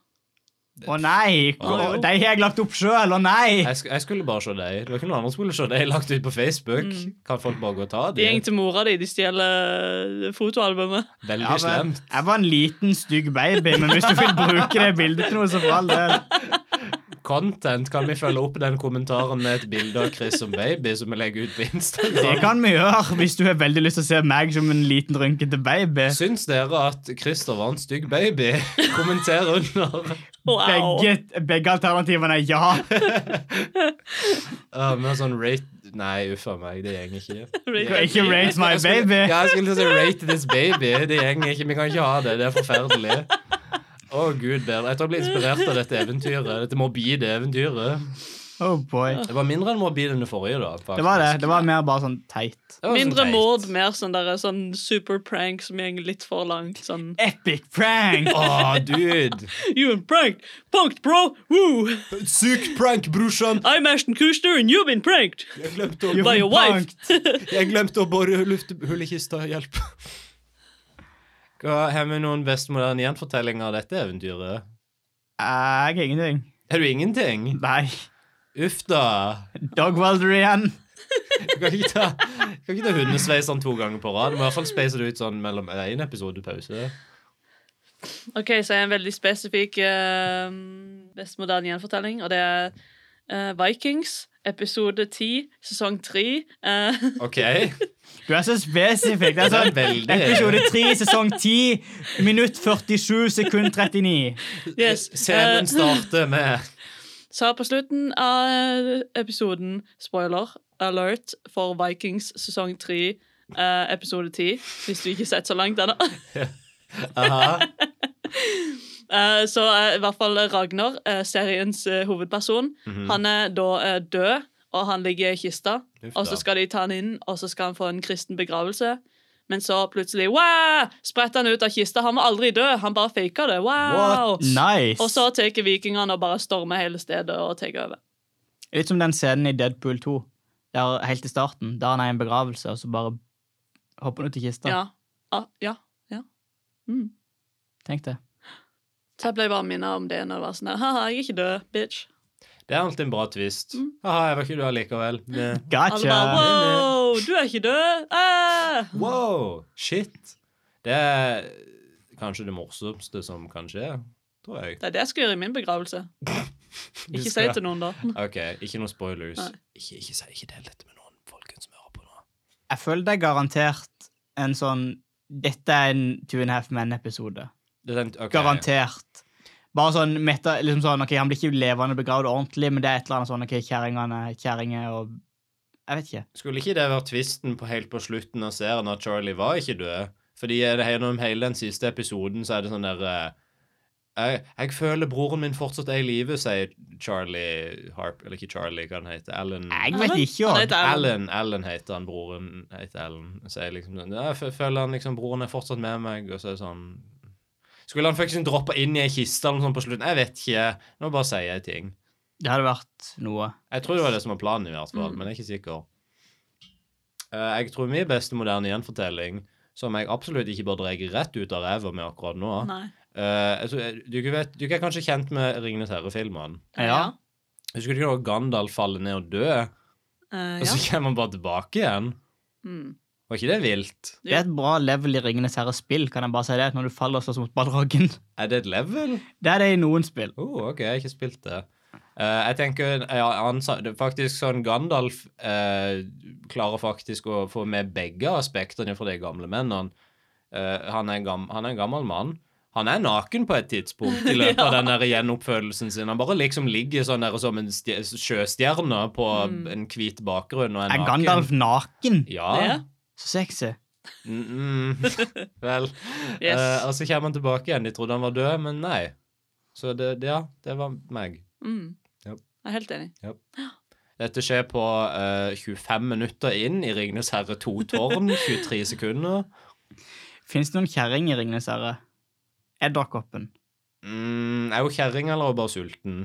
S4: Å nei!
S3: Å, jo.
S4: De har jeg lagt opp sjøl, å nei!
S3: jeg, sk jeg skulle bare se deg. Det var ikke noen andre som skulle se deg lagt ut på Facebook. Kan folk bare gå og ta
S2: De
S3: det?
S2: går til mora di, de stjeler fotoalbumet.
S3: Veldig
S4: Ja, men,
S3: slemt.
S4: jeg var en liten, stygg baby, men hvis du vil bruke det bildet til noe, så for all del.
S3: Content. Kan vi følge opp den kommentaren med et bilde av Chris som baby som vi legger ut på
S4: Det
S3: Instagram?
S4: kan vi gjøre hvis du har veldig lyst til å se meg som en liten, rynkete baby.
S3: Syns dere at Christer var en stygg baby? Kommenter under.
S2: Wow.
S4: Begge, begge alternativene er ja.
S3: Uh, men sånn rate Nei, uff a meg, det går ikke.
S4: Ikke rate my
S3: Jeg skulle-
S4: baby.
S3: Ja, jeg skulle til å si rate this baby. Det går ikke. Vi kan ikke ha det. Det er forferdelig. Å, gud bedre. Jeg tror jeg ble inspirert av dette eventyret. Dette morbide eventyret.
S4: Oh boy.
S3: Det var mindre enn morbid enn det forrige, da. faktisk.
S4: Det var det. Det var mer bare sånn teit.
S3: Det var sånn
S2: Mindre
S3: teit.
S2: mord, mer sånn, der, sånn super prank som går litt for langt. Sånn
S4: Epic prank!
S3: Å, dude.
S2: You been pranked! Punked, bro! Woo!
S3: Syk prank, brorsan.
S2: I'm Ashton Kushner, and you've been pranked!
S3: Jeg glemte å
S4: You've
S2: By
S4: been
S2: your wife!
S3: Jeg glemte å bore luftehull i kista. Hjelp. Hva Har vi noen best moderne gjenfortellinger av dette eventyret?
S4: Jeg er ingenting.
S3: Har du ingenting?
S4: Nei.
S3: Uff da.
S4: Dogwelder igjen.
S3: Du kan ikke ta, du kan ikke ta hundesveisene to ganger på rad. Du må i hvert fall space det ut sånn mellom én episode pause.
S2: Ok, så er en veldig spesifikk eh, best moderne gjenfortelling, og det er eh, Vikings, episode 10, sesong 3. eh,
S3: OK?
S4: Du er så spesifikk.
S3: Det
S4: Det er
S3: er
S4: sånn
S3: veldig
S4: episode 3, sesong 10, minutt 47, sekund 39.
S2: yes. eh,
S3: Scenen starter med
S2: sa på slutten av episoden, spoiler alert, for Vikings sesong 3, eh, episode 10, hvis du ikke har sett så langt ennå.
S3: Aha.
S2: Eh, så eh, i hvert fall Ragnar, eh, seriens eh, hovedperson,
S3: Mhm.
S2: han er da eh, død, og han ligger i kista.
S3: Uff
S2: Og
S3: da.
S2: så skal de ta han inn, og så skal han få en kristen begravelse. Men så plutselig wow, spretter han ut av kista. Han var aldri død, han bare faker det. Wow!
S3: What?
S4: Nice.
S2: Og så tar vikingene og bare stormer hele stedet og tar over.
S4: Litt som den scenen i Deadpool 2, der helt i starten, der han er i en begravelse, og så bare hopper han ut i kista.
S2: Ja. Ah, ja. ja. Mm.
S4: Tenk det.
S2: Så jeg ble bare minnet om det når det var sånn her. Haha, jeg er ikke død, bitch.
S3: Det er alltid en bra twist. Aha, jeg var ikke død likevel. Det-
S2: Alle
S4: Gotcha.
S2: bare wow, du er ikke død! Ah!
S3: Wow! Shit. Det er kanskje det morsomste som kan skje, tror jeg.
S2: Det er det jeg skal gjøre i min begravelse.
S3: Du
S2: Ikke si
S3: skal-
S2: til noen, da.
S3: OK, ikke noen spoilers.
S2: Nei.
S3: Ikke, ikke, si- ikke del dette med noen, folkens, som hører på nå.
S4: Jeg føler det er garantert en sånn Dette er en Two and a Half Men-episode.
S3: Det er den- ok.
S4: Garantert. Bare sånn meta, liksom sånn, ok, Han blir ikke levende begravd ordentlig, men det er et eller annet sånn ok, kjerringene, kjerringer og Jeg vet ikke.
S3: Skulle ikke det vært tvisten på helt på slutten av serien at Charlie var ikke død? Fordi er det gjennom hele den siste episoden så er det sånn der eh, jeg, jeg føler broren min fortsatt er i live, sier Charlie Harp Eller ikke Charlie, hva han heter. Alan.
S4: Jeg vet ikke. altså.
S2: Han
S4: Odd.
S2: heter Alan.
S3: Alan, Alan heter han, broren heter Alan. Sier liksom sånn «Ja, Jeg fø- føler han liksom broren er fortsatt med meg, og så er det sånn Skulle han faktisk droppa inn i ei kiste eller noe sånt på slutten? Jeg vet ikke. Nå bare sier jeg ting.
S4: Det hadde vært noe.
S3: Jeg tror det var det som var planen, i hvert fall,
S2: Mm.
S3: men jeg er ikke sikker. Eh, jeg tror min beste moderne gjenfortelling, som jeg absolutt ikke bør dreie rett ut av ræva med akkurat nå
S2: Nei.
S3: Eh, jeg tror, du, vet, du er kanskje kjent med Ringenes herre-filmene?
S4: Ja.
S3: Husker du ikke når Gandalf faller ned og dør,
S2: Eh,
S3: og
S2: ja.
S3: så kommer han bare tilbake igjen?
S2: Mm.
S3: Var ikke det vilt?
S4: Det er et bra level i Ringenes herre-spill, kan jeg bare si det, når du faller og slåss mot ballroggen.
S3: Er det et level?
S4: Det er det i noen spill.
S3: Oh, ok, jeg har ikke spilt det. Eh, jeg tenker ja, han, sa- det er faktisk sånn Gandalf eh, klarer faktisk å få med begge aspektene fra de gamle mennene. Eh, han, er gam, han er en gammel mann. Han er naken på et tidspunkt i løpet av den der gjenoppfølelsen sin. Han bare liksom ligger sånn der som en stje- Mm. sjøstjerne på en hvit bakgrunn og er
S4: Er
S3: naken.
S4: Gandalf naken?
S3: Ja.
S2: Ja.
S4: Så sexy.
S3: Mm, mm. Vel.
S2: Yes.
S3: Eh, og så kommer han tilbake igjen. De trodde han var død, men nei. Så det, det- ja, det var meg.
S2: Mm.
S3: Ja.
S2: Jeg er helt enig.
S3: Dette skjer på eh, 25 minutter inn i Ringnes herre 2-tårn. 23 sekunder.
S4: Fins det noen kjerring i Ringenes herre? Edderkoppen?
S3: Mm, er hun kjerring eller er hun bare sulten?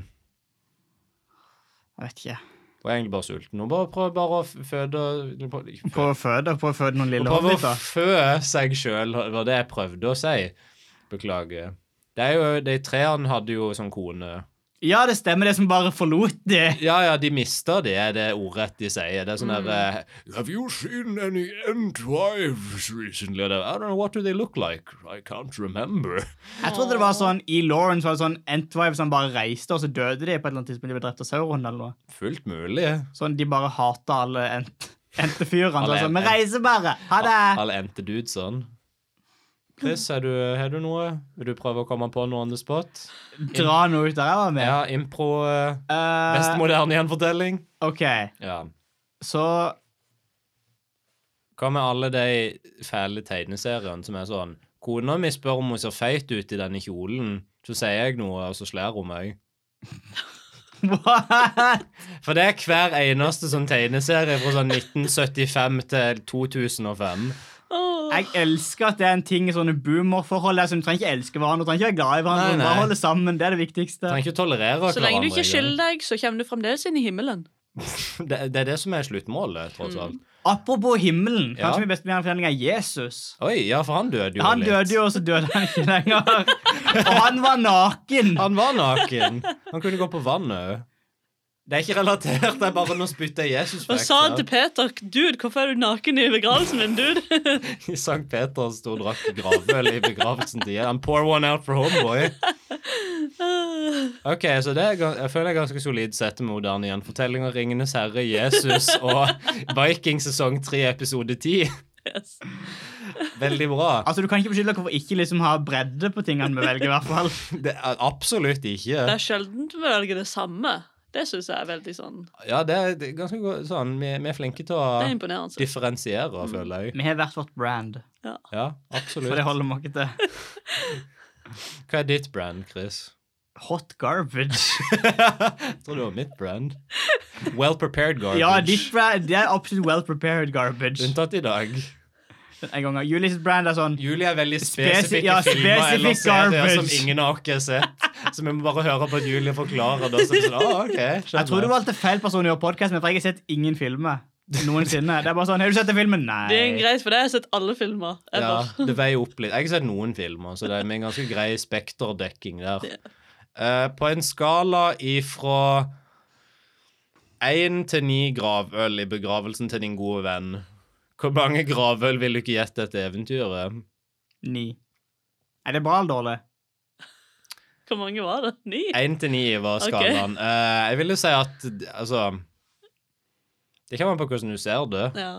S4: Jeg vet ikke.
S3: Hun er egentlig bare sulten. Hun bare prøver bare å f- føde Hun
S4: Prøv å føde, prøv å føde noen lille
S3: prøver å
S4: hobbiter.
S3: fø seg sjøl, var det jeg prøvde å si. Beklager. Det er jo, De treene hadde jo sånn kone.
S4: Ja, det stemmer, det som bare forlot det.
S3: Ja, ja, de mister det, er det ordrett de sier. Det er sånn
S2: Mm.
S3: der eh, Have you seen any N-drives recently? Og det er, I don't know, what do they look like? I can't remember.
S4: Jeg trodde det var sånn i Lauren så var det sånn Entwive som bare reiste, og så døde de på et eller annet tidspunkt. De ble drept av sauron eller noe.
S3: Fullt mulig.
S4: Sånn, De bare hata alle ent entefyrene.
S3: Alle
S4: Sånn, sånn,
S3: ent-
S4: Vi reiser bare! Ha det!
S3: Alle endte dude sånn. Chris, har du, har du noe? Vil du prøve å komme på noe on the spot?
S4: Dra noe ut der jeg var med.
S3: Ja, impro. eh,
S4: Eh,
S3: Best moderne gjenfortelling.
S4: OK,
S3: Ja.
S4: så
S3: Hva med alle de fæle tegneseriene som er sånn Kona mi spør om hun ser feit ut i denne kjolen. Så sier jeg noe, og så slår hun meg.
S4: What?
S3: For det er hver eneste sånn tegneserie fra sånn 1975 til 2005.
S2: Åh.
S4: Jeg elsker at det er en ting i sånne boomerforhold. Altså, du trenger ikke elske hverandre, du trenger ikke være glad i hverandre.
S3: Nei, nei.
S4: Bare holde sammen, det er det viktigste.
S3: Trenger ikke tolerere hverandre.
S2: Så lenge du ikke skiller
S3: engang.
S2: deg, så kommer du fremdeles inn i himmelen.
S3: Det, det er det som er sluttmålet, tross alt.
S4: Apropos himmelen,
S3: Ja.
S4: kanskje min beste fortelling er Jesus.
S3: Oi, ja, for han døde jo
S4: Han
S3: litt.
S4: døde jo, og så døde han ikke lenger. Og han var naken!
S3: Han var naken. Han kunne gå på vannet òg. Det er ikke relatert, det er bare noe spytt av Jesus
S2: Og sa han til Peter Dude, hvorfor er du naken i begravelsen min, dude?
S3: I Sankt Peter sto og drakk gravøl i begravelsen til Jesus. Han pour one out for homeboy. Ok, så det er, gan- jeg føler jeg er ganske solid sett med moderne gjenfortellinger. Ringenes herre, Jesus og Viking sesong 3 episode 10.
S2: yes.
S3: Veldig bra.
S4: Altså, Du kan ikke beskylde dere for ikke liksom ha bredde på tingene vi velger. i hvert fall.
S3: Det er absolutt
S2: Det
S3: ikke.
S2: er sjelden du velger det samme. Det syns jeg er veldig sånn
S3: Ja, det er, det er ganske godt sånn, vi, vi er flinke til
S2: Det er
S3: å
S2: imponerende.
S3: differensiere, føler jeg.
S4: Vi har hvert vårt brand,
S3: Ja,
S4: for det
S3: absolutt.
S4: holder vi ikke til.
S3: Hva er ditt brand, Chris?
S4: Hot garbage.
S3: jeg tror det var mitt brand. Well prepared garbage.
S4: Ja, ditt brand det er absolutt well prepared garbage.
S3: Unntatt i dag.
S4: En gang av Julies brand er sånn
S3: Julie er veldig
S4: Spesi-
S3: spesifikke
S4: ja,
S3: filmer eller
S4: spesifikk
S3: serier som
S4: garbage.
S3: sånn ingen av oss har sett. Så vi må bare høre på at Julie forklarer det. Så er det sånn, ah, ok,
S4: Jeg tror du valgte feil person å gjøre podkast med, for jeg har sett ingen filmer noensinne. Det er bare sånn, Har du sett den filmen? Nei.
S2: Det er greit, for det har jeg sett alle filmer.
S3: Ja,
S2: Ever.
S3: det veier opp litt. Jeg har ikke sett noen filmer, så det er med en ganske grei spekterdekking der.
S2: Ja.
S3: Eh, på en skala ifra én til ni gravøl i begravelsen til din gode venn, hvor mange gravøl vil du ikke gjette dette eventyret?
S4: Ni. Er det bra eller dårlig?
S2: Hvor mange var det? Ni?
S3: Én til ni var
S2: Ok.
S3: skalaen. Eh, jeg vil jo si at altså Det kommer an på hvordan du ser det.
S2: Ja.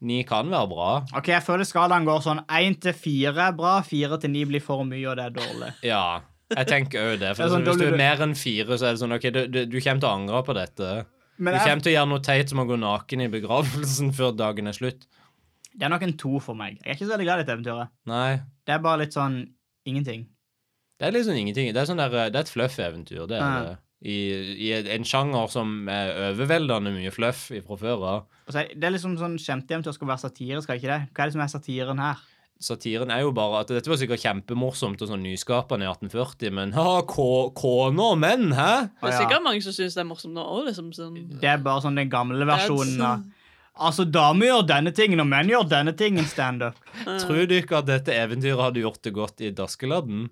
S3: Ni kan være bra.
S4: Ok, Jeg føler skalaen går sånn én til fire er bra, fire til ni blir for mye, og det er dårlig.
S3: Ja. Jeg tenker òg det. For
S4: Det er sånn
S3: hvis du
S4: dårlig-
S3: er mer enn fire, så er det sånn OK, du, du, du kommer til å angre på dette. Du
S4: Men jeg,
S3: kommer til å gjøre noe teit som å gå naken i begravelsen før dagen er slutt.
S4: det er nok en to for meg. Jeg er ikke så veldig glad i dette eventyret.
S3: Nei.
S4: Det er bare litt sånn ingenting.
S3: Det er liksom ingenting. Det er, sånn der, eh, det er et fluff-eventyr. Det er
S4: Ja.
S3: det. I, I en sjanger som er overveldende mye fluff fra før av.
S4: Og så er, det er liksom sånn Kjempeeventyr skal være satire, skal ikke det? Hva er det som er satiren her?
S3: satiren er jo bare at dette var sikkert kjempemorsomt og sånn nyskapende i 1840, men ha, ko- koner og menn, hæ?
S2: Det er
S4: Å, ja.
S2: sikkert mange som syns det er morsomt nå òg, liksom. Sånn.
S4: Det er bare sånn den gamle versjonen av
S2: That's-
S4: Altså, damer gjør denne tingen, og menn gjør denne tingen standup.
S3: Tror du ikke at dette eventyret hadde gjort det godt i Daskeladden?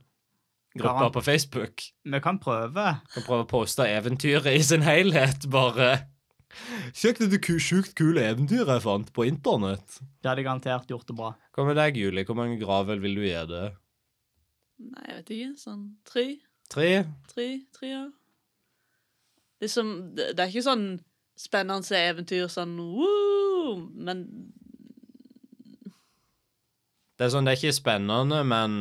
S3: Gruppa
S4: Garant.
S3: på Facebook.
S4: Vi kan prøve.
S3: Kan prøve å poste eventyret i sin helhet, bare. Sjekk dette ku- sjukt kule eventyret jeg fant på internett.
S4: Det hadde garantert gjort det bra.
S3: Hva med deg, Julie? Hvor mange gravøl vil du gi det?
S2: Nei, jeg vet ikke. Sånn tre?
S3: Tre?
S2: Tre? Tre, ja. Liksom, det, det er ikke sånn spennende eventyr sånn woo, men
S3: Det er sånn, det er ikke spennende, men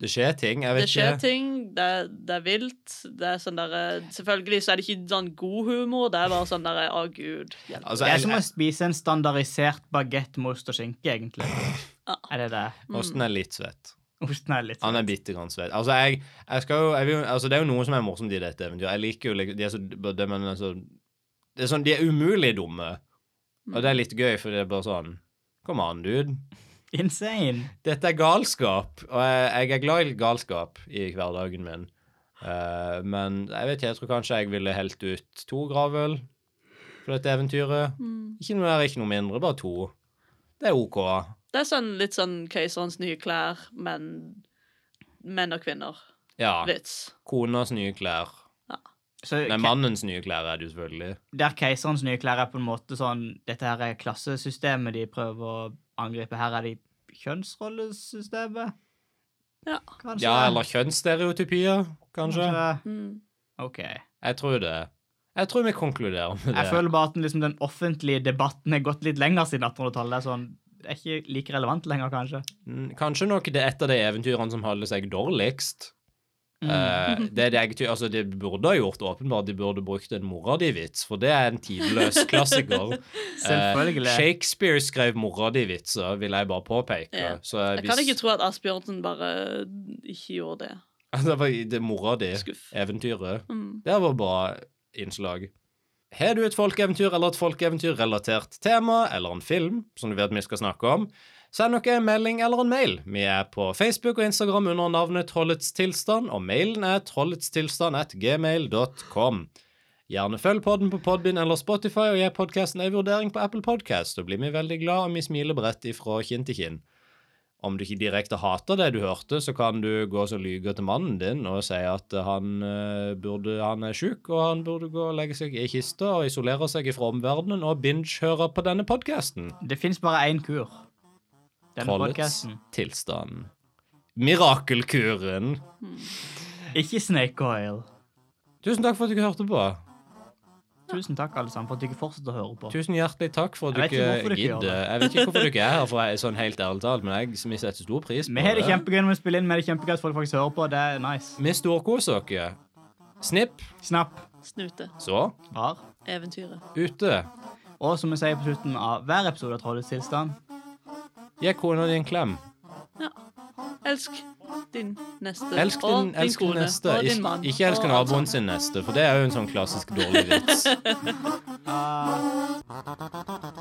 S3: det skjer ting. Jeg
S2: det
S3: vet
S2: skjer
S3: ikke.
S2: ting. Det, er- det er vilt. Det er sånn der, eh, selvfølgelig så er det ikke sånn god humor, det er bare sånn der Å, gud. Hjelp.
S3: Altså,
S4: Det er som å
S3: jeg,
S4: spise en standardisert bagett med ost og skinke, egentlig.
S2: Ja.
S4: Er det det?
S3: jeg, osten er litt svett.
S4: Osten er litt
S3: Han er bitte grann svett. Altså, jeg, jeg skal jo, jeg vil, jo- altså, det er jo noe som er morsomt i dette eventyret. Jeg liker jo liksom- de er så, det, men, altså, det er sånn, De er umulig dumme. Og det er litt gøy, for det er bare sånn Kom an, dude.
S4: insane.
S3: Dette er galskap. Og jeg, jeg er glad i galskap i hverdagen min. Eh, men jeg vet ikke, jeg tror kanskje jeg ville helt ut to gravøl for dette eventyret.
S2: Mm.
S3: Ikke noe mer, ikke noe mindre. Bare to. Det er OK.
S2: Det er sånn litt sånn Keiserens nye klær, men menn og kvinner-vits.
S3: Ja. Konas nye klær.
S4: Så
S3: Nei,
S4: ke-
S3: mannens nye klær er det jo selvfølgelig.
S4: der keiserens nye klær er på en måte sånn Dette her er klassesystemet de prøver å angripe. Her er de kjønnsrollesystemet,
S2: Ja.
S4: kanskje?
S3: Ja, eller kjønnsstereotypier, kanskje.
S4: Kanskje.
S2: Mm.
S4: OK.
S3: Jeg tror det. Jeg tror vi konkluderer med det.
S4: Jeg føler bare at den, liksom, den offentlige debatten er gått litt lenger siden 1800-tallet. Det er Sånn, det er ikke like relevant lenger, kanskje.
S3: Mm, Kanskje nok det er et av de eventyrene som holder seg dårligst.
S4: Mm.
S3: Eh, det, er det, jeg, ty- altså, de burde ha gjort åpenbart De burde brukt en mora di-vits, for det er en tidløs klassiker.
S4: Selvfølgelig.
S3: Eh, Shakespeare skrev mora di-vitser, vil jeg bare påpeke.
S2: Ja.
S3: Så hvis,
S2: Jeg kan ikke tro at Asbjørnsen bare eh, ikke gjorde det.
S3: det var Altså, i det mora
S2: Skuff.
S3: di-eventyret.
S2: Mm.
S3: Det var bra innslag. Har du et folkeeventyr eller et folkeeventyrrelatert tema eller en film som du vet vi skal snakke om, send dere en melding eller en mail. Vi er på Facebook og Instagram under navnet Trollets tilstand, og mailen er trolletstilstand.gmail.com. Gjerne følg podden på Podbin eller Spotify, og gi podkasten en vurdering på Apple Podcast. Da blir vi veldig glad om vi smiler bredt ifra kinn til kinn. Om du ikke direkte hater det du hørte, så kan du gå og lyge til mannen din og si at han, eh, burde, han er sjuk, og han burde gå og legge seg i kista og isolere seg fra omverdenen og binge-høre på denne podkasten.
S4: Det fins bare én kur. Denne
S3: Trollets
S4: podkasten.
S3: tilstand. Mirakelkuren.
S4: Ikke Snake Oil.
S3: Tusen takk for at du hørte på.
S4: Tusen takk, alle sammen, for at du ikke fortsetter å høre på.
S3: Tusen hjertelig takk for at du
S4: Jeg vet ikke
S3: ikke
S4: hvorfor du ikke gjør
S3: gidder.
S4: det.
S3: Jeg vet ikke hvorfor du ikke er her, for jeg er sånn helt ærlig talt, men jeg vi setter stor pris på
S4: Vi har det kjempegøy når vi spiller inn, vi har det kjempegøy at folk faktisk hører på. Det er nice.
S3: Vi storkoser dere. Snipp,
S4: Snapp.
S2: Snute.
S3: så
S4: Rar.
S2: Eventyret.
S3: ute.
S4: Og som vi sier på slutten av hver episode av Trollets tilstand
S3: Gi kona di en klem.
S2: Elsk din neste
S3: Elsk
S2: og
S3: din,
S2: din
S3: elsk din
S2: kone
S3: neste.
S2: og din
S3: Ik
S2: mann.
S3: ikke elsk
S2: og alt
S3: naboen sin neste, for det er jo en sånn klassisk dårlig vits.
S4: ah.